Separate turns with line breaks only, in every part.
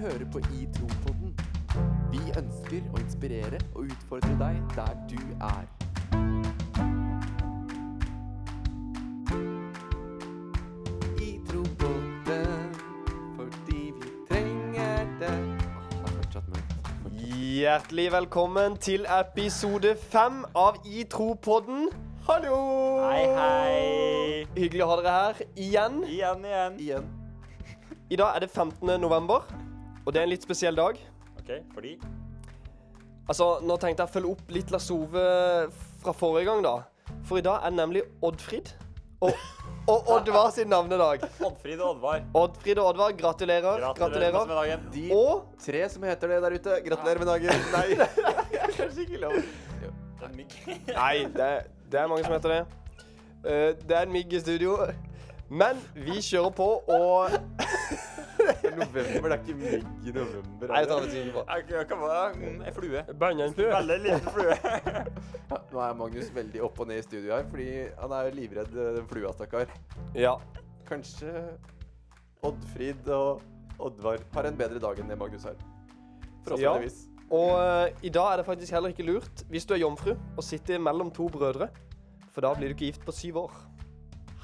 hører på I Tro-podden. Vi ønsker å inspirere og utfordre deg der du er. I Tro-podden, fordi vi trenger det. Åh, det er fortsatt mørkt.
Hjertelig velkommen til episode fem av I tro-podden. Hallo!
Hei, hei!
Hyggelig å ha dere her igjen.
Igjen, igjen.
Igjen.
I dag er det 15. november, og det er en litt spesiell dag.
OK, fordi
Altså, Nå tenkte jeg å følge opp litt Lars Ove fra forrige gang, da. For i dag er det nemlig Oddfrid og, og Oddvar sin navnedag.
Oddfrid og Oddvar.
Oddfrid og Oddvar, gratulerer.
Gratulerer med dagen.
De
Og
tre som heter det der ute, gratulerer med dagen. Nei.
Kanskje ikke lov.
En mygg.
Nei, det, er- det er mange som heter det. Eh, det er en migg i studio. Men vi kjører på, og
November, det er ikke mygg i november.
Nei, det tar vi ikke på.
Jeg jeg kan bare mm, En flue.
Bananfrø.
Veldig liten flue.
Ja, Nå er Magnus veldig opp og ned i studio her, fordi han er livredd eh, den flua, stakkar.
Ja.
Kanskje Oddfrid og Oddvar har en bedre dag enn det Magnus har.
Ja.
Forhåpentligvis.
Og eh, i dag er det faktisk heller ikke lurt hvis du er jomfru og sitter mellom to brødre, for da blir du ikke gift på syv år.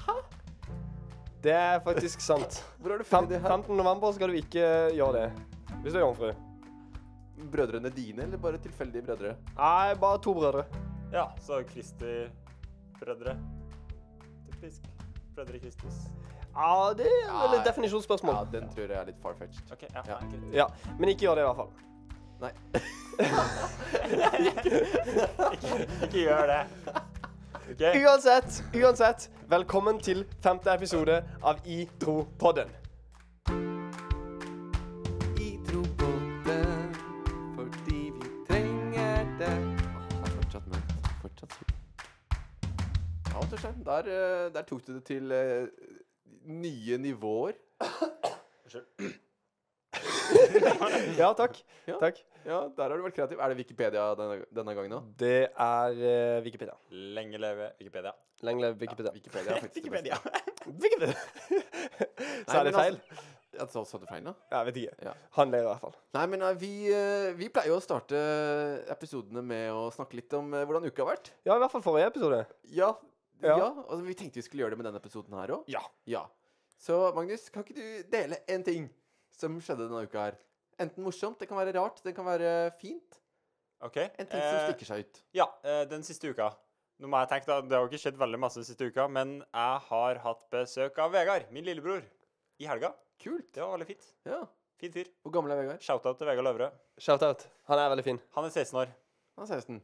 Hæ? Det er faktisk sant.
Hvor har du
Fem-
funnet det her?
15. november skal du ikke gjøre det hvis du er jomfru.
Brødrene dine, eller bare tilfeldige brødre?
Nei, bare to brødre.
Ja, så Kristi brødre. Typisk. Brødre Kristus.
Ja, det er vel
Nei.
et definisjonsspørsmål.
Ja, den tror jeg er litt far-fetched.
OK, ja,
Ja.
ja. greit.
Ja, men ikke gjør det i hvert fall.
Nei.
Ikke gjør det. OK?
Uansett, uansett, velkommen til femte episode av I tro-podden.
I tro på den, fordi vi trenger det. Åh, det er fortsatt mørkt. Fortsatt sol. Ja, vet du, Skjerm, der, eh, der tok du det til eh, nye nivåer.
Unnskyld.
Ja, takk.
Ja.
Takk.
Ja, der har du vært kreativ. Er det Wikipedia denne, denne gangen òg?
Det er eh, Wikipedia.
Lenge leve Wikipedia.
Lenge leve Wikipedia.
Wikipedia er faktisk det beste.
Wikipedia. Så er
men altså-
det feil?
Ja, så, så du feil nå?
altså- Jeg vet ikke.
Ja.
Han ler i hvert fall.
Nei, men eh, vi, eh, vi pleier jo å starte episodene med å snakke litt om eh, hvordan uka har vært.
Ja, i hvert fall forrige episode.
Ja. ja.
Ja.
og Vi tenkte vi skulle gjøre det med denne episoden her òg.
Ja.
Ja. Så Magnus, kan ikke du dele en ting som skjedde denne uka her? Enten morsomt, det kan være rart, det kan være fint.
OK.
En ting som
eh,
stikker seg ut.
Ja, eh, den siste uka. Nå må jeg tenke da, Det har jo ikke skjedd veldig masse den siste uka, men jeg har hatt besøk av Vegard, min lillebror, i helga.
Kult.
Det var veldig fint.
Ja.
Fin fyr.
Hvor gammel er Vegard?
Shout-out til Vegard Løvrød.
Shout-out. Han er veldig fin.
Han er 16 år.
Han er 16.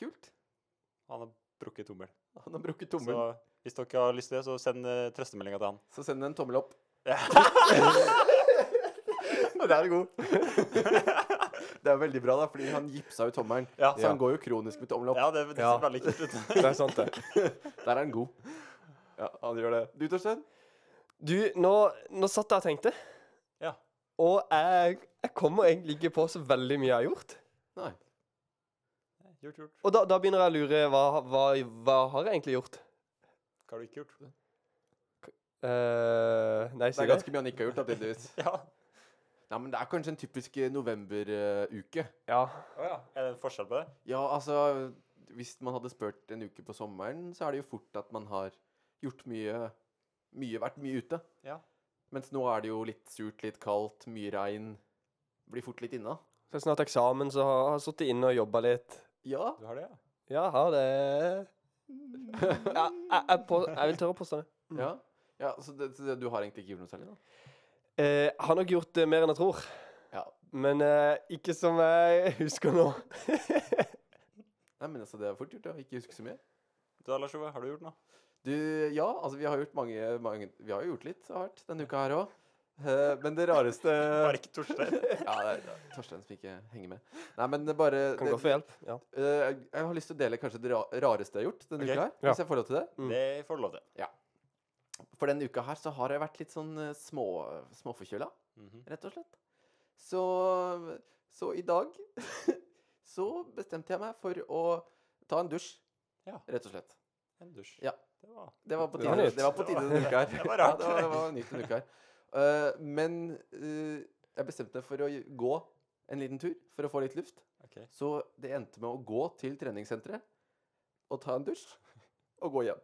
Kult.
Han har brukket tommel.
Han har brukket tommelen.
Så hvis dere har lyst til det, så send uh, trøstemeldinga til han.
Så, send en tommel opp.
Ja.
Der er du god. det er veldig bra, da, fordi han gipsa jo tommelen.
Ja,
Så han går jo kronisk med tommel opp.
ja det, det ser
Ja.
veldig kult ut.
Det er sant, det.
Der er han god. Ja, han gjør det. Du, Torstein?
Du, nå, nå satt jeg og tenkte,
Ja.
og jeg, jeg kommer egentlig ikke på så veldig mye jeg har gjort.
Nei.
Gjort, gjort.
Og da, da begynner jeg å lure hva, hva, hva har jeg egentlig gjort?
Hva har du ikke gjort?
eh
Det
nei, si
er
det.
ganske mye han ikke har gjort, da, tydeligvis.
Ja.
Nei, men det er kanskje en typisk eh, novemberuke.
Ja.
Å ja. Er det en forskjell på det?
Ja, altså Hvis man hadde spurt en uke på sommeren, så er det jo fort at man har gjort mye Mye vært mye ute.
Ja.
Mens nå er det jo litt surt, litt kaldt, mye regn. Blir fort litt inna.
Så snart eksamen, så har har jeg sittet inne og jobba litt.
Ja.
Du har det, ja.
Ja, har det ja, jeg, jeg, på, jeg vil tørre å påstå det.
Mm.
Ja, ja så, det, så det, du har egentlig ikke gjort noe særlig, da?
Eh, jeg har nok gjort eh, mer enn jeg tror.
Ja.
Men eh, ikke som jeg husker nå.
Nei, men altså, det er fort gjort å ikke huske så mye.
Du da, Lars Ove, har du gjort noe?
Du, ja, altså vi har gjort mange, mange Vi har jo gjort litt av hvert denne uka her òg. Men det rareste
Bare ikke Torstein.
Ja, det er Torstein som ikke henger med. Nei, men det bare
Kan
det,
godt få hjelp. Ja.
Eh, jeg jeg har lyst til å dele kanskje det ra- rareste jeg har gjort denne
Ok,
uka her.
ja.
Hvis jeg får lov til det.
Mm.
Det får du lov til.
For denne uka her så har jeg vært litt sånn eh, små, småforkjøla,
Mhm.
rett og slett. Så, så i dag så bestemte jeg meg for å ta en dusj,
Ja.
rett og slett.
En dusj.
Ja.
Det var
Det var på
Det var
tide, det
nytt.
var på tide denne uka her.
Det var
Ja,
rart.
det var, det var nytt denne uka her. Eh, men eh, jeg bestemte meg for å gj- gå en liten tur for å få litt luft.
Ok.
Så det endte med å gå til treningssenteret og ta en dusj og gå hjem.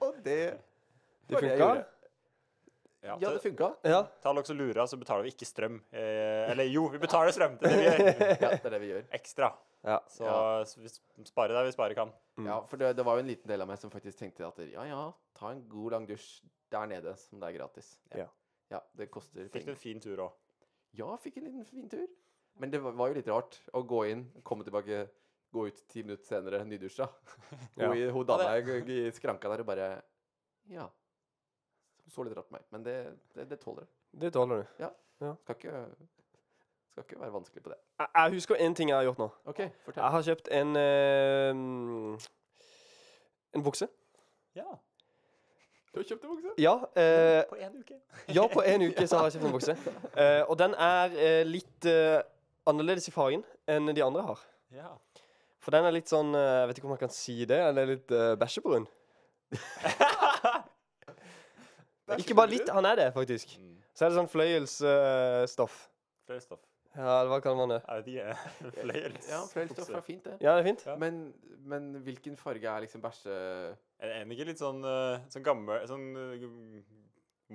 Og det
Det
var jeg
funka?
gjorde.
Ja,
Ja, det
så,
funka.
Ja.
ta Lux og Lura, så betaler vi ikke strøm. Eh, eller jo, vi betaler strøm til det vi gjør.
Ja, det er det vi gjør.
Ekstra.
ja.
Så,
Ja.
så vi sparer der vi sparer kan.
Mm.
Ja, for det, det var jo en liten del av meg som faktisk tenkte at ja, ja, ta en god lang dusj der nede, som det er gratis.
Ja.
Ja, det koster
Fikk du
penger.
en fin tur òg?
Ja, fikk en liten fin tur. Men det var, var jo litt rart å gå inn, komme tilbake, gå ut ti minutter senere, nydusja.
Ja.
Hun, i- hun dama
Ja,
i i skranka der og bare Ja. Hun så litt rart på meg. Men det, det, det tåler jeg.
Det tåler du.
Skal ikke, skal ikke være vanskelig på det.
Jeg, jeg husker én ting jeg har gjort nå.
OK, fortell.
Jeg har kjøpt en eh, En bukse.
Ja.
Du har kjøpt en bukse?
Ja. eh,
På én uke.
Ja, på en uke så har jeg kjøpt en bukse. Eh, og den er eh, litt eh, annerledes i fargen enn de andre har.
Ja.
For den er litt sånn eh, Jeg vet ikke om jeg kan si det. Eller litt uh, bæsjebrun. Ikke bare litt, han er det, faktisk.
Mm.
Så er det sånn fløyelsstoff.
Flere stoff.
ja, hva kaller man det?
Jeg vet ikke. Fløyels.
Ja, flere stoff
bukser.
er fint, det.
Ja, det er fint.
Ja.
Men, men hvilken farge er liksom bæsje...
Er er den ikke litt sånn, eh, sånn gammel Sånn eh,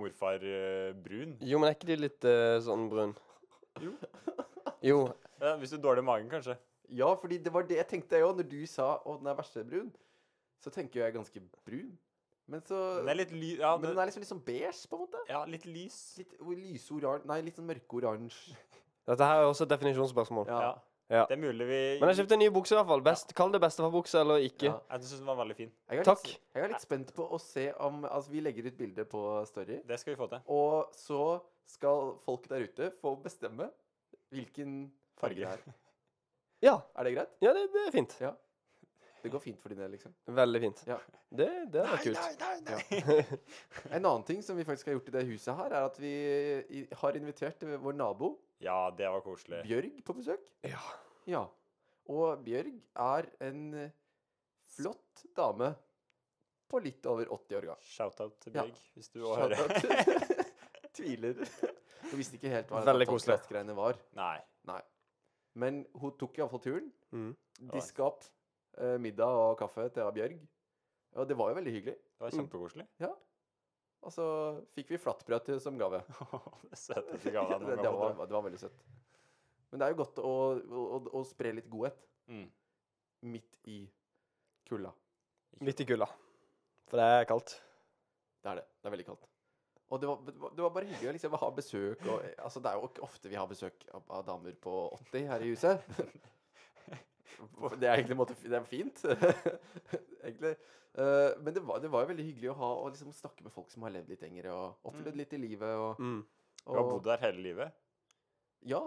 morfar-brun?
Jo, men er ikke de litt eh, sånn brun?
Jo.
Jo.
Ja, hvis du har dårlig i magen, kanskje.
Ja, fordi det var det jeg tenkte jeg òg. Når du sa 'Å, den er versebrun', så tenker jo jeg ganske brun. Men så
Den er litt ly... Ja,
Men
den
den er liksom litt sånn beige, på en måte.
ja litt lys.
Litt o- lyseoransje Nei, litt sånn mørkeoransje.
Dette her er også et definisjonsspørsmål.
Ja.
Ja.
Ja.
Det er mulig vi
Men jeg kjøpte en ny bukse, i hvert fall. Best, Kall det bestefarbukse eller ikke.
Ja.
Jeg syns den var veldig fin.
Jeg er
Takk.
Litt, jeg er litt spent på å se om Altså, vi legger ut bilde på Story,
Det skal vi få til.
og så skal folk der ute få bestemme hvilken farge det er.
Ja,
Er det greit?
ja det, det er fint.
Det går fint for din del, liksom.
Veldig fint.
Ja.
Det, det er kult.
nei, nei!
En annen ting som vi faktisk har gjort i det huset her, er at vi i- har invitert vår nabo
Ja, det var koselig.
Bjørg på besøk.
Ja.
Ja. Og Bjørg er en eh, flott dame på litt over 80 år gammel.
Shout-out til
Ja.
Bjørg, hvis du òg hører.
Shout-out. Tviler. Hun visste ikke helt hva
Veldig koselig.
greiene var.
Nei.
Men hun tok iallfall turen.
Mm.
Diska opp eh, middag og kaffe til Bjørg. Og det var jo veldig hyggelig.
Det var
Mm.
kjempekoselig.
Og så fikk vi flatbrød til som gave.
det
Mm.
søteste
Det,
gava jeg
det,
noen gang har
var,
fått.
det var veldig søtt. Men det er jo godt å, å, å, å spre litt godhet
Mm.
midt i kulda.
Midt i kulda. For det er kaldt.
Det er det. Det er veldig kaldt. Og det var, det var- det var bare hyggelig å liksom, ha besøk. Og, altså, det er jo ikke ofte vi har besøk av, av damer på 80 her i huset. Det er egentlig en måte, det er fint, egentlig. Eh, men det var, det var jo veldig hyggelig å, ha, å liksom, snakke med folk som har levd litt lenger og opplevd litt i livet. Og,
Mm.
Du har
og
bodd der hele livet.
ja,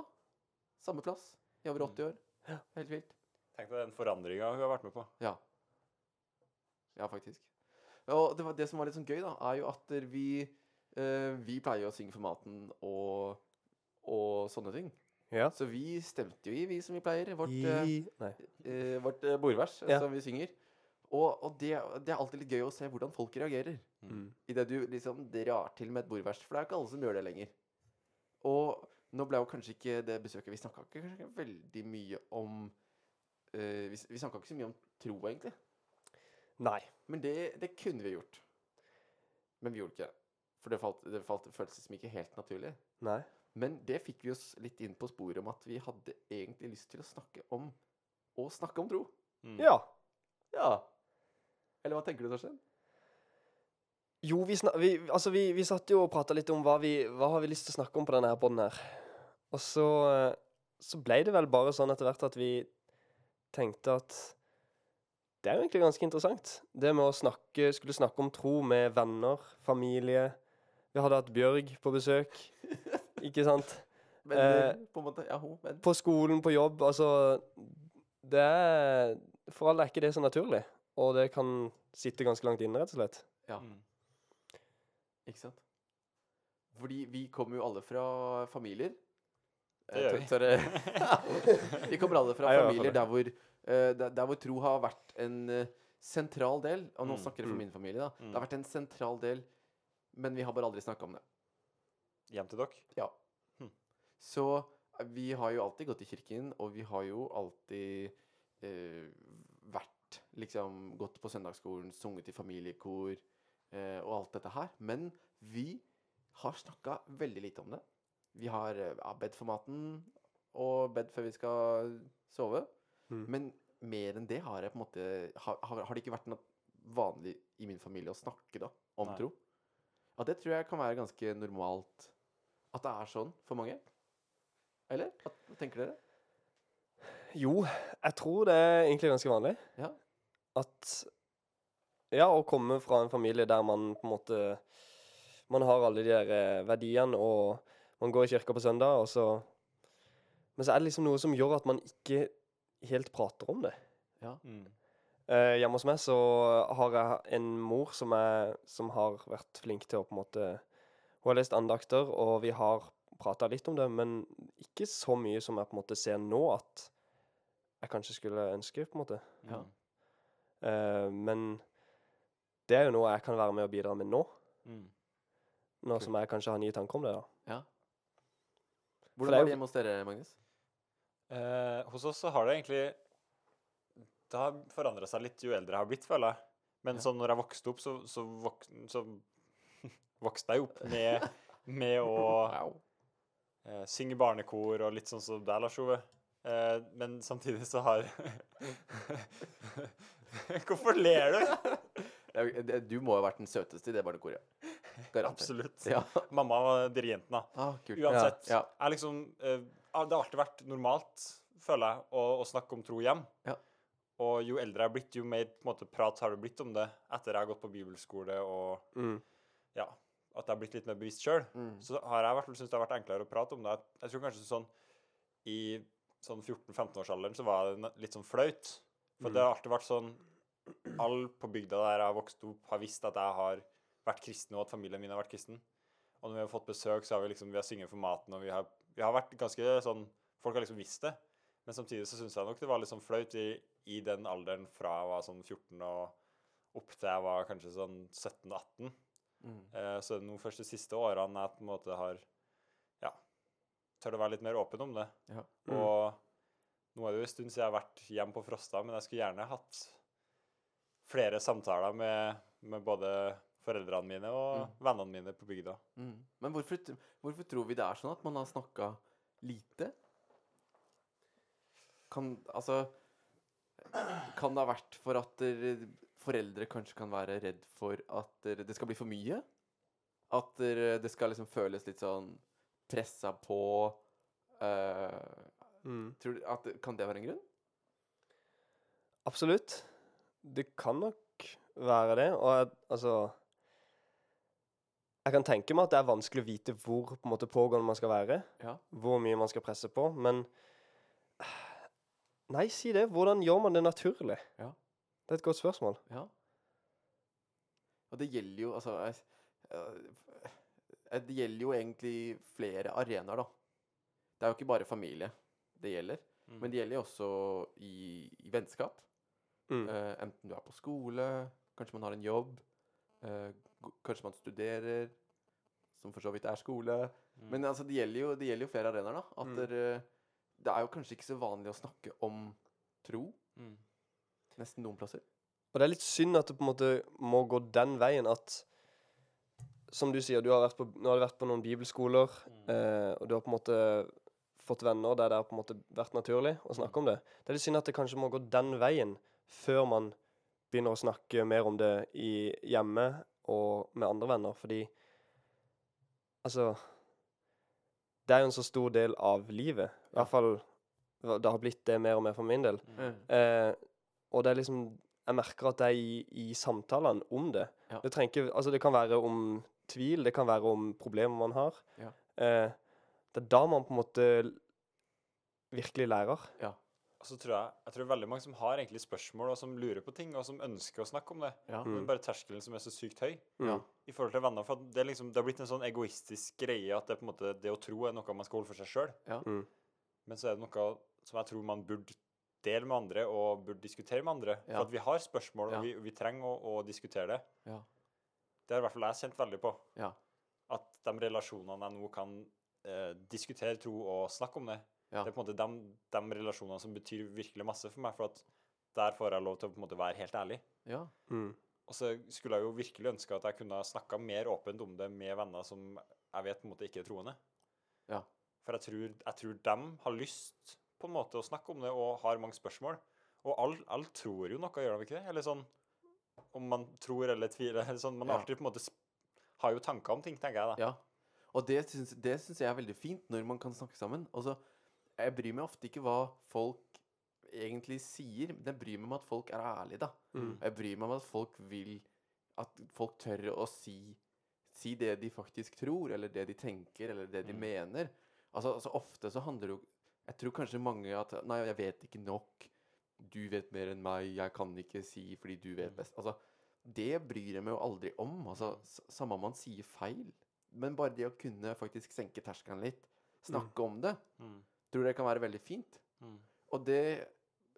samme plass i over
Mm.
80 år. Helt vilt.
Tenk deg den forandringa hun har vært med på.
Ja. Ja, faktisk. Og det, var, det som var litt sånn gøy, da, er jo at vi eh, Vi pleier jo å synge for maten og, og sånne ting.
Ja.
Så vi stemte jo i, vi som vi pleier, vårt, eh,
Nei.
eh, vårt eh, bordvers eh,
Ja.
som vi synger. Og, og det, det er alltid litt gøy å se hvordan folk reagerer.
Mm.
Idet du liksom drar til med et bordvers, for det er jo ikke alle som gjør det lenger. Og nå ble jo kanskje ikke det besøket Vi snakka ikke kanskje ikke veldig mye om eh, Vi, vi snakka ikke så mye om tro, egentlig.
Nei.
Men det, det kunne vi gjort. Men vi gjorde ikke det. For det, falt, det falt, føltes som ikke helt naturlig.
Nei.
Men det fikk vi oss litt inn på sporet om at vi hadde egentlig lyst til å snakke om å snakke om tro.
Mm.
Ja.
Ja. Eller hva tenker du, Torstein?
Jo, vi, snak, vi, altså vi, vi satt jo og prata litt om hva vi hva har vi lyst til å snakke om på denne her podden her. Og så, eh, så ble det vel bare sånn etter hvert at vi tenkte at det er jo egentlig ganske interessant. Det med å snakke, skulle snakke om tro med venner, familie. Vi hadde hatt Bjørg på besøk, ikke sant?
Venner, på en måte. Ja, hun. Men
på skolen, på jobb, altså Det er For alle er ikke det så naturlig. Og det kan sitte ganske langt inne, rett og slett.
Mm.
Ikke sant? Fordi vi kommer jo alle fra familier.
Det gjør
Eh,
vi.
tø- tørre- vi kommer alle fra
Jeg gjør i hvert
familier
fall det.
der hvor, eh, der, der hvor tro har vært en eh, sentral del. Og nå
Mm.
snakker jeg for
Mm.
min familie, da. Det
Mm.
har vært en sentral del, men vi har bare aldri snakka om det.
hjem til dere?
Så eh, vi har jo alltid gått i kirken, og vi har jo alltid eh, vært Liksom gått på søndagsskolen, sunget i familiekor eh, og alt dette her. Men vi har snakka veldig lite om det. Vi har eh, ja, bedt for maten og bedt før vi skal sove.
Mm.
Men mer enn det har jeg på en måte Har, har, har det ikke vært noe vanlig i min familie å snakke da om
Nei.
tro? Ja, det tror jeg kan være ganske normalt. At det er sånn for mange? Eller? At, hva tenker dere?
Jo, jeg tror det er egentlig ganske vanlig.
Ja.
At Ja, å komme fra en familie der man på en måte Man har alle de der eh, verdiene, og man går i kirka på søndag, og så Men så er det liksom noe som gjør at man ikke helt prater om det.
Mm.
Eh, hjemme hos meg så har jeg en mor som, er, som har vært flink til å på en måte Hun har lest andakter, og vi har prata litt om det, men ikke så mye som jeg på en måte ser nå at jeg kanskje skulle ønske, på en måte.
Ja.
Mm.
Eh, men det er jo noe jeg kan være med og bidra med nå,
Mm.
nå
Kult.
som jeg kanskje har nye tanker om det. da. For det
Hvordan
er
var
jo-
det hjemme hos dere, Magnus?
Eh, hos oss så har det egentlig Det har forandra seg litt jo eldre jeg har blitt, føler jeg. Men
Ja.
sånn når jeg vokste opp, så, så, vok, så vokste jeg opp med, med å
Wow.
eh, synge barnekor og litt sånn som deg, Lars Ove. Eh, men samtidig så har Hvorfor ler du?
Det er jo- det- Du må ha vært den søteste i det barnekoret. Garantert.
Absolutt.
Ja.
Mamma var dirigenten, da.
Ah, kult.
Uansett.
Ja.
Jeg liksom, eh, ah, det har alltid vært normalt, føler jeg, å, å snakke om tro hjem.
Ja.
Og jo eldre jeg har blitt, jo mer på en måte, prat har det blitt om det etter jeg har gått på bibelskole og
Mm.
ja, at jeg har blitt litt mer bevisst sjøl.
Mm.
Så har jeg i hvert fall syntes det har vært enklere å prate om det. Jeg- Jeg tror kanskje sånn i sånn 14-15-årsalderen så var det na- litt sånn flaut. For det har alltid vært sånn Alle på bygda der jeg har vokst opp, har visst at jeg har vært kristen, og at familien min har vært kristen. Og når vi har fått besøk, så har vi liksom Vi har synget for maten, og vi har, vi har vært ganske sånn Folk har liksom visst det. Men samtidig så syns jeg nok det var litt sånn flaut i, i den alderen fra jeg var sånn 14 og opp til jeg var kanskje sånn 17-18.
Mm.
Eh, så det er nå først de siste årene jeg på en måte har ja, tør å være litt mer åpen om det.
Ja.
Mm.
Og nå er det jo en stund siden jeg har vært hjemme på Frosta, men jeg skulle gjerne hatt flere samtaler med, med både foreldrene mine og vennene mine på bygda.
Mm. Men hvorfor, t- hvorfor tror vi det er sånn at man har snakka lite? Kan Altså Kan det ha vært for at dere- foreldre kanskje kan være redd for at dere- det skal bli for mye? At dere- det skal liksom føles litt sånn pressa på eh,
Mm.
Tror du at, kan det være en grunn?
Absolutt. Det kan nok være det. Og jeg, altså Jeg kan tenke meg at det er vanskelig å vite hvor på en måte, pågående man skal være.
Ja.
Hvor mye man skal presse på. Men Nei, si det. Hvordan gjør man det naturlig?
Ja.
Det er et godt spørsmål.
Ja. Og det gjelder jo altså eh, eh, eh, Det gjelder jo egentlig flere arenaer, da. Det er jo ikke bare familie det gjelder,
Mm.
men det gjelder jo også i, i vennskap.
Mm.
Eh, enten du er på skole, kanskje man har en jobb, eh, g- kanskje man studerer, som for så vidt er skole.
Mm.
Men altså, det gjelder jo, det gjelder jo flere arenaer, da. At
Mm.
dere- det er jo kanskje ikke så vanlig å snakke om tro
Mm.
nesten noen plasser.
Og det er litt synd at det på en måte må gå den veien at Som du sier, du har vært på, nå har du vært på noen bibelskoler, eh, og du har på en måte fått venner der det har på en måte vært naturlig å snakke om det. Det er litt synd at det kanskje må gå den veien før man begynner å snakke mer om det i hjemme og med andre venner, fordi Altså Det er jo en så stor del av livet. I hvert fall det har blitt det mer og mer for min del. Eh, og det er liksom Jeg merker at det er i, i samtalene om det.
Ja.
Det, trenger, ikke- altså det kan være om tvil, det kan være om problemer man har.
Ja.
Eh, det er da man på en måte virkelig lærer.
Og så tror jeg, jeg tror veldig mange som har egentlig spørsmål, og som lurer på ting, og som ønsker å snakke om det.
Ja.
Mm.
Men bare terskelen som er så sykt høy.
Ja.
i forhold til venner, for at det, er liksom, det har blitt en sånn egoistisk greie at det, på en måte, det å tro er noe man skal holde for seg sjøl.
Ja.
Mm.
Men så er det noe som jeg tror man burde dele med andre, og burde diskutere med andre.
Ja.
For at vi har spørsmål, og
Ja.
vi, vi trenger å, å diskutere det.
Ja.
Det har i hvert fall jeg kjent veldig på.
Ja.
At de relasjonene jeg nå kan eh, diskutere tro og snakke om det,
Ja.
det er på en måte de, de relasjonene som betyr virkelig masse for meg, for at der får jeg lov til å på en måte være helt ærlig.
Ja.
Mm.
Og så skulle jeg jo virkelig ønske at jeg kunne ha snakka mer åpent om det med venner som jeg vet på en måte ikke er troende.
Ja.
For jeg tror, jeg tror dem har lyst på en måte å snakke om det og har mange spørsmål. Og alle all tror jo noe, gjør de ikke det? Eller sånn om man tror eller tviler. Eller sånn. Man
Ja.
alltid på en måte sp- har jo tanker om ting, tenker jeg da.
ja. Og det syns, det syns jeg er veldig fint, når man kan snakke sammen. Altså, jeg bryr meg ofte ikke hva folk egentlig sier, men jeg bryr meg om at folk er ærlige, da.
Mm.
Jeg bryr meg om at folk vil At folk tør å si Si det de faktisk tror, eller det de tenker, eller det de
Mm.
mener. Altså, altså ofte så handler det jo Jeg tror kanskje mange at Nei, jeg vet ikke nok. Du vet mer enn meg. Jeg kan ikke si fordi du vet
Mm.
best. Altså, det bryr jeg meg jo aldri om. Altså, s- samme om man sier feil. Men bare det å kunne faktisk senke terskelen litt, snakke om det,
Mm.
tror jeg kan være veldig fint.
Mm.
Og det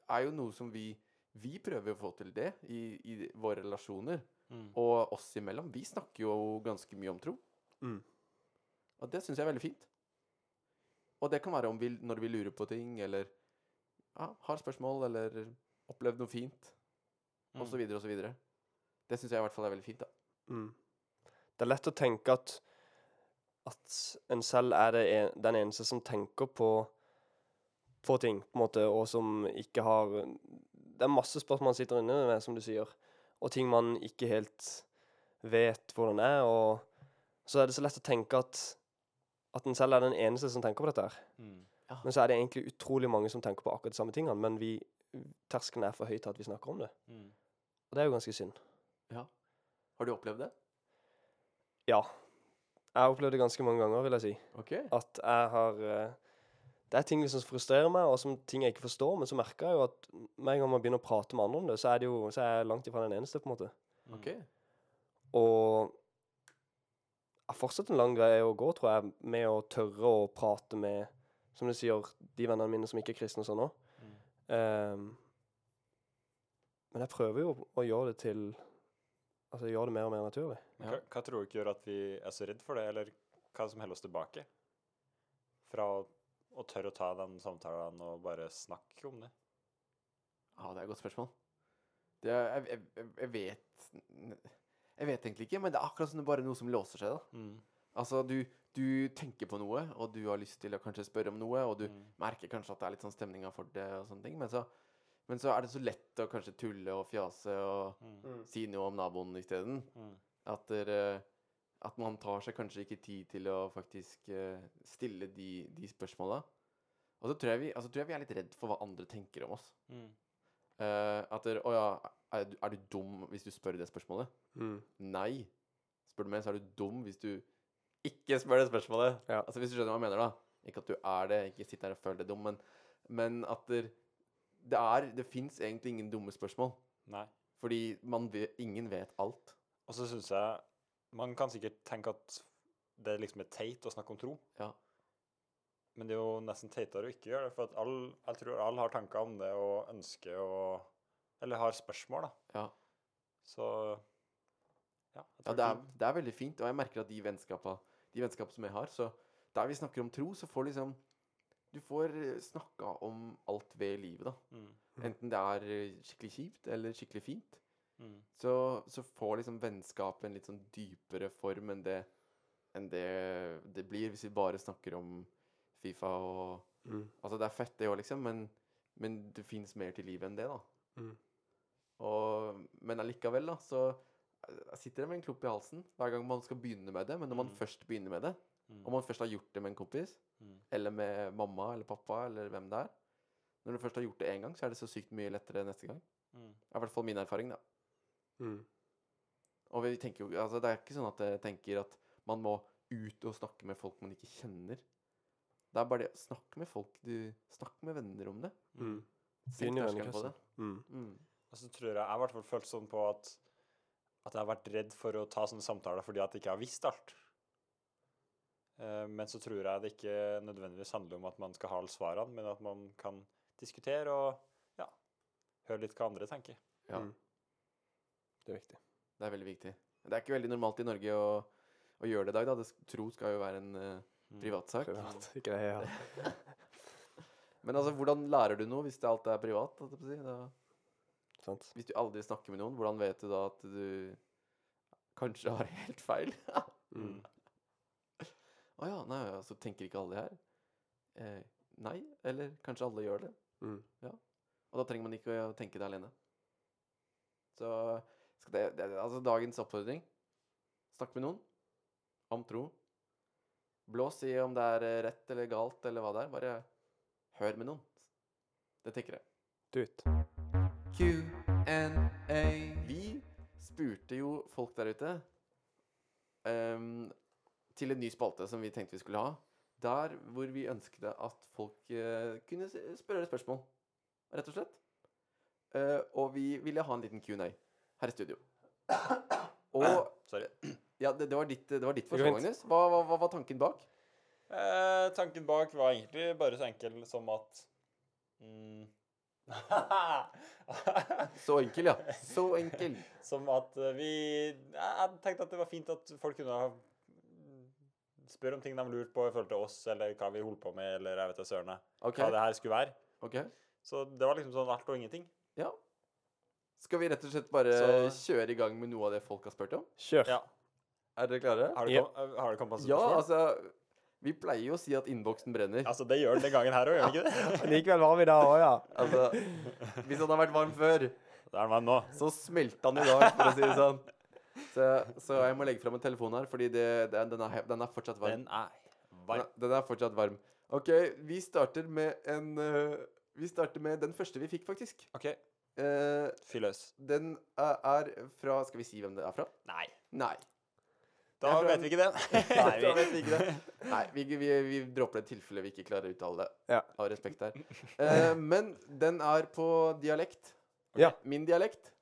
er jo noe som vi Vi prøver å få til det i, i våre relasjoner.
Mm.
Og oss imellom. Vi snakker jo ganske mye om tro.
Mm.
Og det syns jeg er veldig fint. Og det kan være om vi, når vi lurer på ting, eller ja, har spørsmål, eller opplevd noe fint,
Mm.
og så videre og så videre. Det syns jeg i hvert fall er veldig fint, da.
Mm. Det er lett å tenke at at en selv er det en, den eneste som tenker på på ting, på en måte, og som ikke har Det er masse spørsmål man sitter inne med, som du sier, og ting man ikke helt vet hvordan er, og så er det så lett å tenke at at en selv er den eneste som tenker på dette her.
Mm.
Men så er det egentlig utrolig mange som tenker på akkurat de samme tingene, men vi terskelen er for høy til at vi snakker om det.
Mm.
Og det er jo ganske synd.
Har du opplevd det?
Jeg har opplevd det ganske mange ganger, vil jeg si.
Ok.
at jeg har eh, Det er ting som frustrerer meg, og som ting jeg ikke forstår, men så merker jeg jo at med en gang man begynner å prate med andre om det, så er, det jo, så er jeg langt ifra den eneste, på en måte.
Mm.
Ok.
Og jeg har fortsatt en lang vei å gå, tror jeg, med å tørre å prate med, som du sier, de vennene mine som ikke er kristne og sånn òg.
Mm.
men jeg prøver jo å gjøre det til Altså gjøre det mer og mer naturlig.
Men
Ja.
Hva, hva tror du ikke gjør at vi er så redd for det, eller hva som holder oss tilbake fra å, å tørre å ta den samtalen og bare snakke om det?
Ja, det er et godt spørsmål. Det er, jeg, jeg- jeg, jeg vet Jeg vet egentlig ikke, men det er akkurat som det er bare noe som låser seg, da. Altså, du, du tenker på noe, og du har lyst til å kanskje spørre om noe, og du
Mm.
merker kanskje at det er litt sånn stemninga for det, og sånne ting, men så, men så er det så lett å kanskje tulle og fjase og
Mm.
si noe om naboen isteden.
Mm.
At, dere- at man tar seg kanskje ikke tid til å faktisk eh, stille de, de spørsmåla. Og så tror jeg, vi, altså, tror jeg vi er litt redd for hva andre tenker om oss.
Mm.
Eh, at dere, 'Å ja, er du, er du dum hvis du spør det spørsmålet?'
Mm,
Nei. Spør du meg, så er du dum hvis du ikke spør det spørsmålet.
Ja.
Altså Hvis du skjønner hva jeg mener, da. Ikke at du er det, ikke sitt der og føl deg dum, men, men at der, det er Det fins egentlig ingen dumme spørsmål.
Nei.
Fordi man ve- ingen vet alt.
Og så syns jeg Man kan sikkert tenke at det liksom er teit å snakke om tro.
Ja.
Men det er jo nesten teitere å ikke gjøre det, for at all, jeg tror alle har tanker om det og ønsker å Eller har spørsmål, da.
Ja.
Så ja, jeg
Ja,
tror
det er, det er veldig fint, og jeg merker at de vennskapa De vennskap som jeg har, så der vi snakker om tro, så får liksom Du får eh, snakka om alt ved livet, da.
mm,
Enten det er eh, skikkelig kjipt eller skikkelig fint.
mm,
så, så får liksom vennskapet en litt sånn dypere form enn det, enn det det blir hvis vi bare snakker om Fifa og
Mm.
Altså, det er fett, det òg, liksom, men, men det fins mer til livet enn det, da.
Mm.
Og, men allikevel, da, så eh, sitter det med en klump i halsen hver gang man skal begynne med det. Men når man
Mm.
først begynner med det,
mm,
om man først har gjort det med en kompis,
mm,
eller med mamma eller pappa eller hvem det er Når du først har gjort det én gang, så er det så sykt mye lettere neste gang.
mm,
Det er i hvert fall min erfaring, da.
Mm.
Og vi tenker jo, altså Det er ikke sånn at jeg tenker at man må ut og snakke med folk man ikke kjenner. Det er bare det Snakk med folk. Du, snakk med venner om det.
Mm.
Senk
Begynn i
terskelen på
vennekretsen.
det.
Mm.
Mm.
Og så tror jeg jeg har i hvert fall følt sånn på at at jeg har vært redd for å ta sånne samtaler fordi at jeg ikke har visst alt. Eh, Men så tror jeg det ikke nødvendigvis handler om at man skal ha alle svarene, men at man kan diskutere og ja, høre litt hva andre tenker.
Ja,
Mm. Det er viktig.
Det er veldig viktig. Det er ikke veldig normalt i Norge å, å gjøre det i dag, da. Det, s- tro skal jo være en eh,
Mm.
privatsak.
Mm, Privat greie. ja.
Men altså, hvordan lærer du noe hvis det alt er privat? holdt jeg på å si? Da,
Sant?
hvis du aldri snakker med noen, hvordan vet du da at du kanskje har helt feil? Å
Mm.
ja, nei, ja, så tenker ikke alle her. Eh, nei, eller kanskje alle gjør det.
Mm.
Og da trenger man ikke å tenke det alene. Så skal det, det, altså dagens oppfordring Snakk med noen om tro. Blås i om det er eh, rett eller galt eller hva det er. Bare hør med noen. Det tenker jeg.
Do it.
Q&A. Vi spurte jo folk der ute ehm, til en ny spalte som vi tenkte vi skulle ha. Der hvor vi ønskede at folk eh, kunne s- spørre spørsmål, rett og slett. Eh, og vi ville ha en liten Q&A her i studio. Og
Sorry.
ja, det, det var ditt, det var ditt
går
forslag,
fint.
Magnus. Hva, hva, hva var tanken bak?
Eh, tanken bak var egentlig bare så enkel som at mm,
Så enkel, ja. Så enkel.
Som at eh, vi Jeg jeg tenkte at det var fint at folk kunne ha Spør om ting de lurer på i forhold til oss, eller hva vi holder på med, eller jeg vet da søren jeg,
Ok.
hva det her skulle være.
ok.
Så det var liksom sånn alt og ingenting.
Ja. Skal vi rett og slett bare
Så-
kjøre i gang med noe av det folk har spurt om?
Kjør.
Ja.
Er dere klare?
Har det
Ja.
kom- eh, har det kommet masse
Ja,
spørsmål?
altså Vi pleier jo å si at innboksen brenner.
Altså, det gjør den den gangen her òg, gjør den ikke det?
Likevel var vi der òg, ja.
Altså, hvis han har vært varm før,
Det er den nå.
så smelter han i dag, for å si det sånn. Så, så jeg må legge fram en telefon her, fordi det, det, er- den, er, he- den er fortsatt varm.
Den er
Den
varm.
er, den er fortsatt varm. OK, vi starter med en øh, Vi starter med den første vi fikk, faktisk.
OK,
Eh,
fyr løs.
den er er fra Skal vi si hvem det er fra?
Nei.
Nei.
Da
Det er fra
vet vi ikke det.
Nei, vi, vet vi ikke det. Nei, vi, vi, vi dropper det tilfellet vi ikke klarer å uttale det.
Ja.
Av respekt her. Eh, men den er på dialekt.
Ja.
Min dialekt.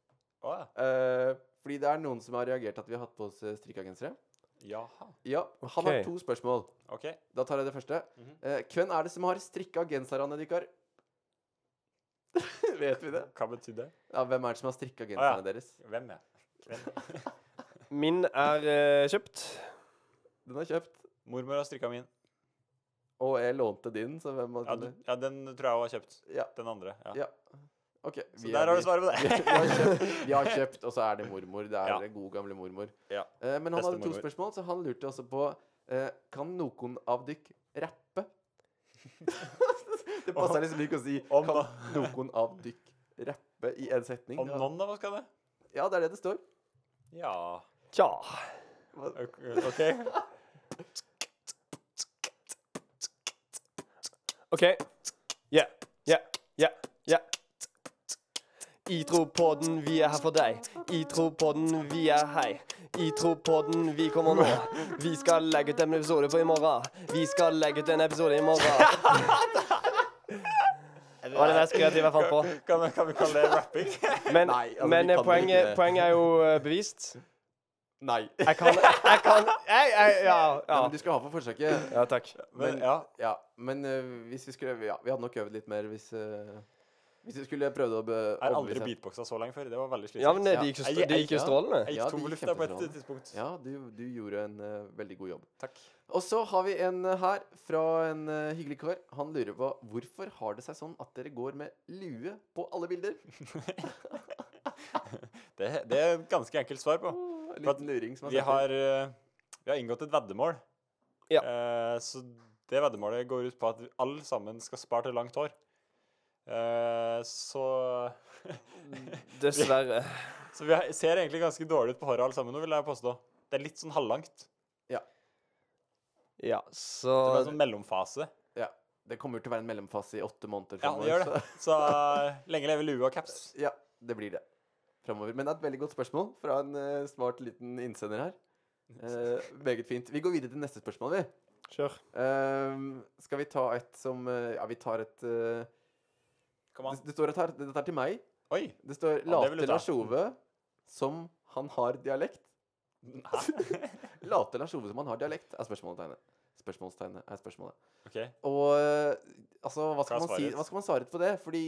Å, ja.
Eh, fordi det er noen som har reagert at vi har hatt på oss eh, strikka gensere.
Jaha.
Ja, han har
Ok.
to spørsmål.
OK.
Da tar jeg det første.
Mhm.
Eh, hvem er det som har strikka genserne deres? Vet vi det?
Hva betyr det?
Ja, hvem er det som har strikka genserne
ja.
deres?
Hvem er Hvem?
Min er eh, kjøpt.
Den er kjøpt.
Mormor har strikka min.
Og jeg lånte din, så hvem
Ja,
har
du, ja, den tror jeg hun har kjøpt.
Ja.
Den andre. Ja.
Ja, Ok.
Så
vi
der
er
har
vi-
du svaret på
Vi
det.
har kjøpt, vi har kjøpt, og så er det mormor. Det er
Ja.
ja. god, gamle mormor.
Ja.
Eh, men han
Beste
hadde to
mormor.
spørsmål, så han lurte også på eh, Kan noen av dykk rappe? det passer liksom ikke å si
Om
Kan
da-
noen av dykk rappe i en setning?
Om noen av oss skal det?
Ja, det er det det står.
Ja.
Tja.
Ok. ok.
OK. Yeah, yeah, yeah, yeah. I tropodden, vi er her for deg. I tropodden, vi er hei. I tropodden, vi kommer nå. Vi skal legge ut en episode på i morgen. Vi skal legge ut en episode i morgen. Det var det mest kreative jeg fant på.
Kan, kan vi kalle det rapping?
Men,
Nei, altså, vi
men
kan
eh,
jo
poenget,
ikke det.
poenget er jo eh, bevist.
Nei.
Jeg kan Jeg kan jeg, jeg, Ja.
Nei, men
Ja,
du skal ha for forsøket.
ja takk.
Men,
Men-
ja.
Ja, men eh, hvis vi skulle Ja, vi hadde nok øvd litt mer hvis eh, Hvis vi skulle prøvd å be-
Jeg har aldri
overbevise-
beatboxa så lenge før. Det var veldig slitsomt.
Ja, men det det gikk jo st- det gikk jo strålende.
Jeg
Ja,
gikk
det
tom for
gikk
luft der på et
kjempebra.
tidspunkt.
Ja, du, du gjorde en eh, veldig god jobb.
Takk.
Og så har vi en eh, her fra en eh, hyggelig kar. Han lurer på hvorfor har det seg sånn at dere går med lue på alle bilder?
Det, det er et ganske enkelt svar på.
En
For at
liten luring som har
Vi
sagt det.
har, eh, vi har inngått et veddemål.
Ja.
Eh, så det veddemålet går ut på at vi alle sammen skal spare til langt hår. Eh, så
Dessverre.
Så vi har- ser egentlig ganske dårlig ut på håret alle sammen nå, vil jeg påstå. Det er litt sånn halvlangt.
Ja, så
Det er en sånn mellomfase.
Det kommer til å være en mellomfase i åtte måneder
Ja, det gjør
så-
det. Så eh, lenge lever lue og caps.
Ja, det blir det fremover. Men det er et veldig godt spørsmål fra en eh, smart liten innsender her. Eh, meget fint. Vi går videre til neste spørsmål, vi.
Kjør.
Ehm, skal vi ta et som eh, Ja, vi tar et eh,
Kom
det,
an.
det står et her. Dette er til meg.
Oi!
Det står
Ja, det vil
Late
du ta.
Lars Ove som han har dialekt.
Hæ?
Late Lars Ove som han har dialekt, er spørsmålstegnet. Spørsmålstegnet er spørsmålet.
OK.
Og eh, altså, hva skal,
Hva er
man si,
svaret?
hva skal man svare på det? Fordi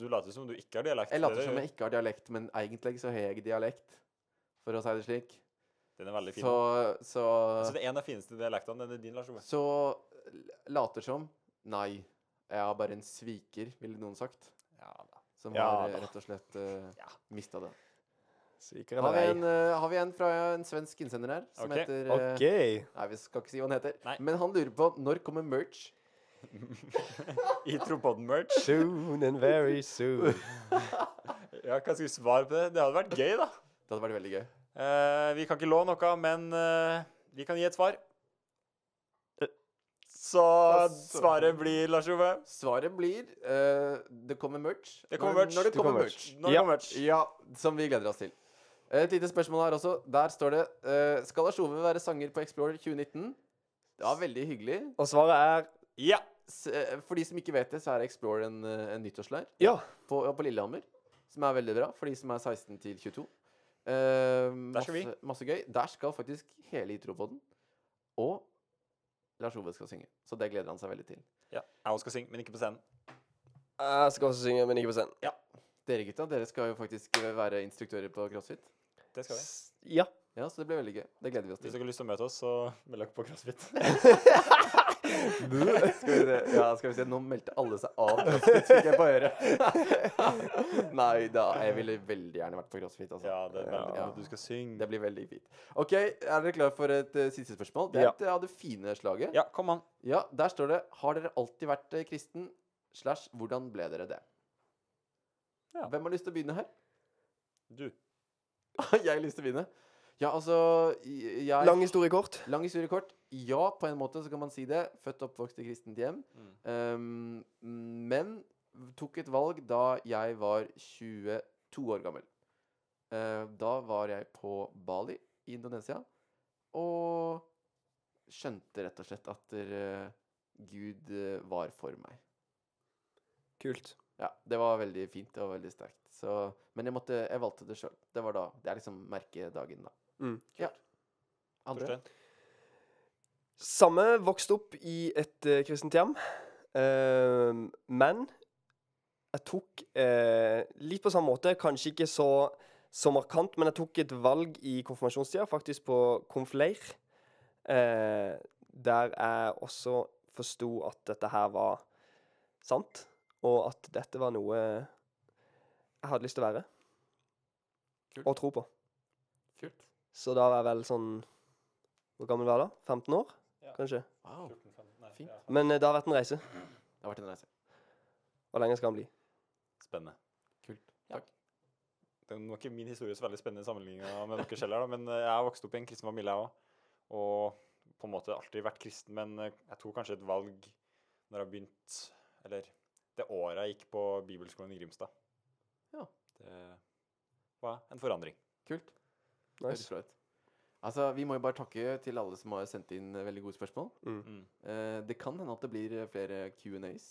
Du later som du ikke har dialekt.
jeg later
det
som
gjør
jeg ikke har dialekt, men egentlig så har jeg dialekt, for å si det slik.
Den er veldig fin.
Så, så,
altså, det er en av de fineste dialektene. Den er din, Lars Ove.
så l- later som Nei, jeg er bare en sviker, ville noen sagt.
Ja da.
Som
Ja
har eh,
da.
rett og slett uh,
Ja.
mista det.
Sviker
Har
eller
vi,
ei.
en, eh, har vi en fra en svensk innsender her, som
Ok.
heter eh,
OK.
Nei, vi skal ikke si hva han heter.
Nei.
Men han lurer på når kommer merch.
I Trompodden-merch.
Soon and very soon.
Ja, hva skal vi svare på det? Det hadde vært gøy, da.
Det hadde vært veldig gøy.
Eh, vi kan ikke love noe, men eh, vi kan gi et svar.
Eh.
Så
Altså.
svaret blir, Lars Ove
Svaret blir eh, det kommer merch.
Det kommer
Når-
merch.
Når det
Det
kommer
kommer
merch.
Når det
Ja.
kommer merch.
Ja, som vi gleder oss til. Et lite spørsmål her også. Der står det eh, Skal Lars Ove være sanger på Explorer 2019? Det var veldig hyggelig.
Og svaret er
Ja.
S eh, for de som ikke vet det, så er Explorer en, eh, en nyttårsleir
ja.
på, på Lillehammer. Som er veldig bra for de som er 16 til 22. Eh,
Der skal vi.
masse, masse gøy. Der skal faktisk hele Itropoden og Lars Ove skal synge. Så det gleder han seg veldig til.
ja. Jeg også skal synge, men ikke på scenen.
Jeg skal også synge, men ikke på scenen.
Dere gutta, dere skal jo faktisk eh, være instruktører på CrossFit.
Det skal vi.
S- Ja.
Ja, så det blir veldig gøy. Det gleder vi oss
Hvis
til.
dere har lyst til å møte oss, så meld dere på CrossFit.
Skal vi se, ja, skal vi se. Nå meldte alle seg av CrossFit, fikk jeg på øret. Nei da, jeg ville veldig gjerne vært på CrossFit, altså.
Ja, det er veldig
Ja.
bra. Du skal synge.
Det blir veldig fint. OK, er dere klare for et eh, siste spørsmål? Det er
Ja.
et av det fine slaget. Ja.
Ja, kom an.
der står det Har dere alltid vært eh, kristen? Slash, hvordan ble dere det?
Ja.
Hvem har lyst til å begynne her?
Du.
jeg har lyst til å begynne. Ja, altså jeg,
Lang historie kort.
Lang historie kort. Ja, på en måte så kan man si det. Født og oppvokst i kristent hjem. Um, men tok et valg da jeg var 22 år gammel. Eh, da var jeg på Bali i Indonesia og skjønte rett og slett at eh, Gud eh, var for meg.
Kult.
Ja, det var veldig fint og veldig sterkt. Så, men jeg, måtte, jeg valgte det sjøl. Det var da. Det er liksom merkedagen, da.
Mm.
Ja. Andre?
Torstein.
Samme vokste opp i et eh, kristent hjem. Ehm, men jeg tok eh, litt på samme måte, kanskje ikke så, så markant, men jeg tok et valg i konfirmasjonstida, faktisk på konfleir, eh, der jeg også forsto at dette her var sant, og at dette var noe jeg hadde lyst til å være
Kult.
og tro på.
Kult.
Så da var jeg vel sånn Hvor gammel var jeg da? 15 år,
Ja.
kanskje?
Wow.
14, 15, nei,
Fint.
ja.
Men eh, det har vært en reise.
Det har vært en reise.
Hvor lenge skal den bli?
Spennende.
Kult.
Den var ikke min historie så veldig spennende i sammenligninga med dere selv, her, da, men eh, jeg har vokst opp i en kristen familie, jeg òg. Og på en måte alltid vært kristen, men eh, jeg tok kanskje et valg når jeg begynte Eller det året jeg gikk på bibelskolen i Grimstad.
Ja.
Det var en forandring.
Kult. Høres
Nice.
bra ut. Altså, Vi må jo bare takke til alle som har sendt inn eh, veldig gode spørsmål.
Mm.
Eh, det kan hende at det blir eh, flere Q&As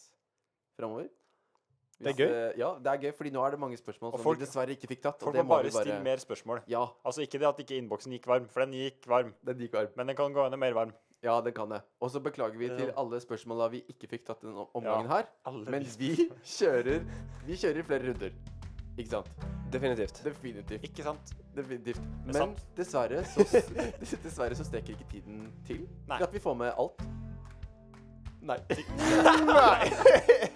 framover. eh,
Det er gøy.
ja, det er gøy, fordi nå er det mange spørsmål
Og
som
folk-
vi dessverre ikke fikk tatt.
Folk
og det
må
må
bare
vi bare
stille mer spørsmål.
Ja,
Altså ikke det at ikke innboksen gikk varm, for den gikk varm.
den gikk varm.
Men den kan gå enda mer varm.
Ja, det kan det. Og så beklager vi
Ja.
til alle spørsmåla vi ikke fikk tatt denne omgangen her.
Alle
Men
de-
vi kjører, vi kjører flere runder. Ikke sant?
Definitivt.
Definitivt.
Ikke sant?
Definitivt.
er
Men
sant.
dessverre så, dessverre så strekker ikke tiden til
Nei.
til at vi får med alt. Nei.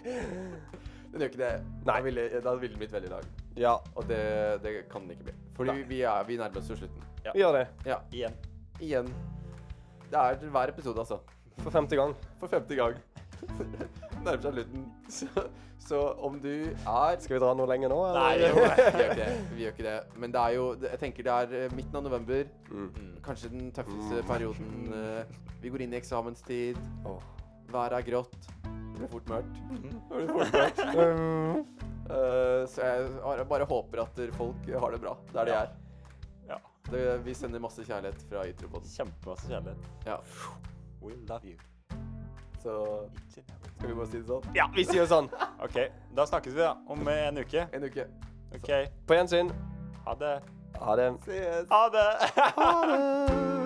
Den gjør ikke det. Da
Nei.
ville, da ville den blitt veldig lang.
Ja,
Og det, det kan den ikke bli. Fordi
Nei.
vi, er, vi nærmer oss jo slutten.
vi gjør det.
Igjen.
Igjen. Det er til hver episode, altså.
For femte gang.
For femte gang. Nærmer seg slutten. Så, så om du er
Skal vi dra noe lenger nå?
Nei,
vi
jo.
gjør, ikke det. vi gjør ikke det. Men det er jo Jeg tenker det er eh, midten av november.
Mm.
Kanskje den tøffeste perioden. eh, Vi går inn i eksamenstid.
Åh.
Været er grått. Det blir fort mørkt. Det blir fort mørkt.
Um,
Eh, Så jeg har- bare håper at dere- folk har det bra der de
Ja.
er.
Ja.
Det, vi sender masse kjærlighet fra Ytropoden.
Kjempemasse kjærlighet.
Ja.
We love you.
Så
Each and every-
skal vi bare si det sånn.
Ja, vi sier det sånn.
OK, da snakkes vi, da. Om eh, en uke.
En uke.
OK.
På gjensyn.
Ha det.
Ha det.
Ses.
Ha det.
Ha det.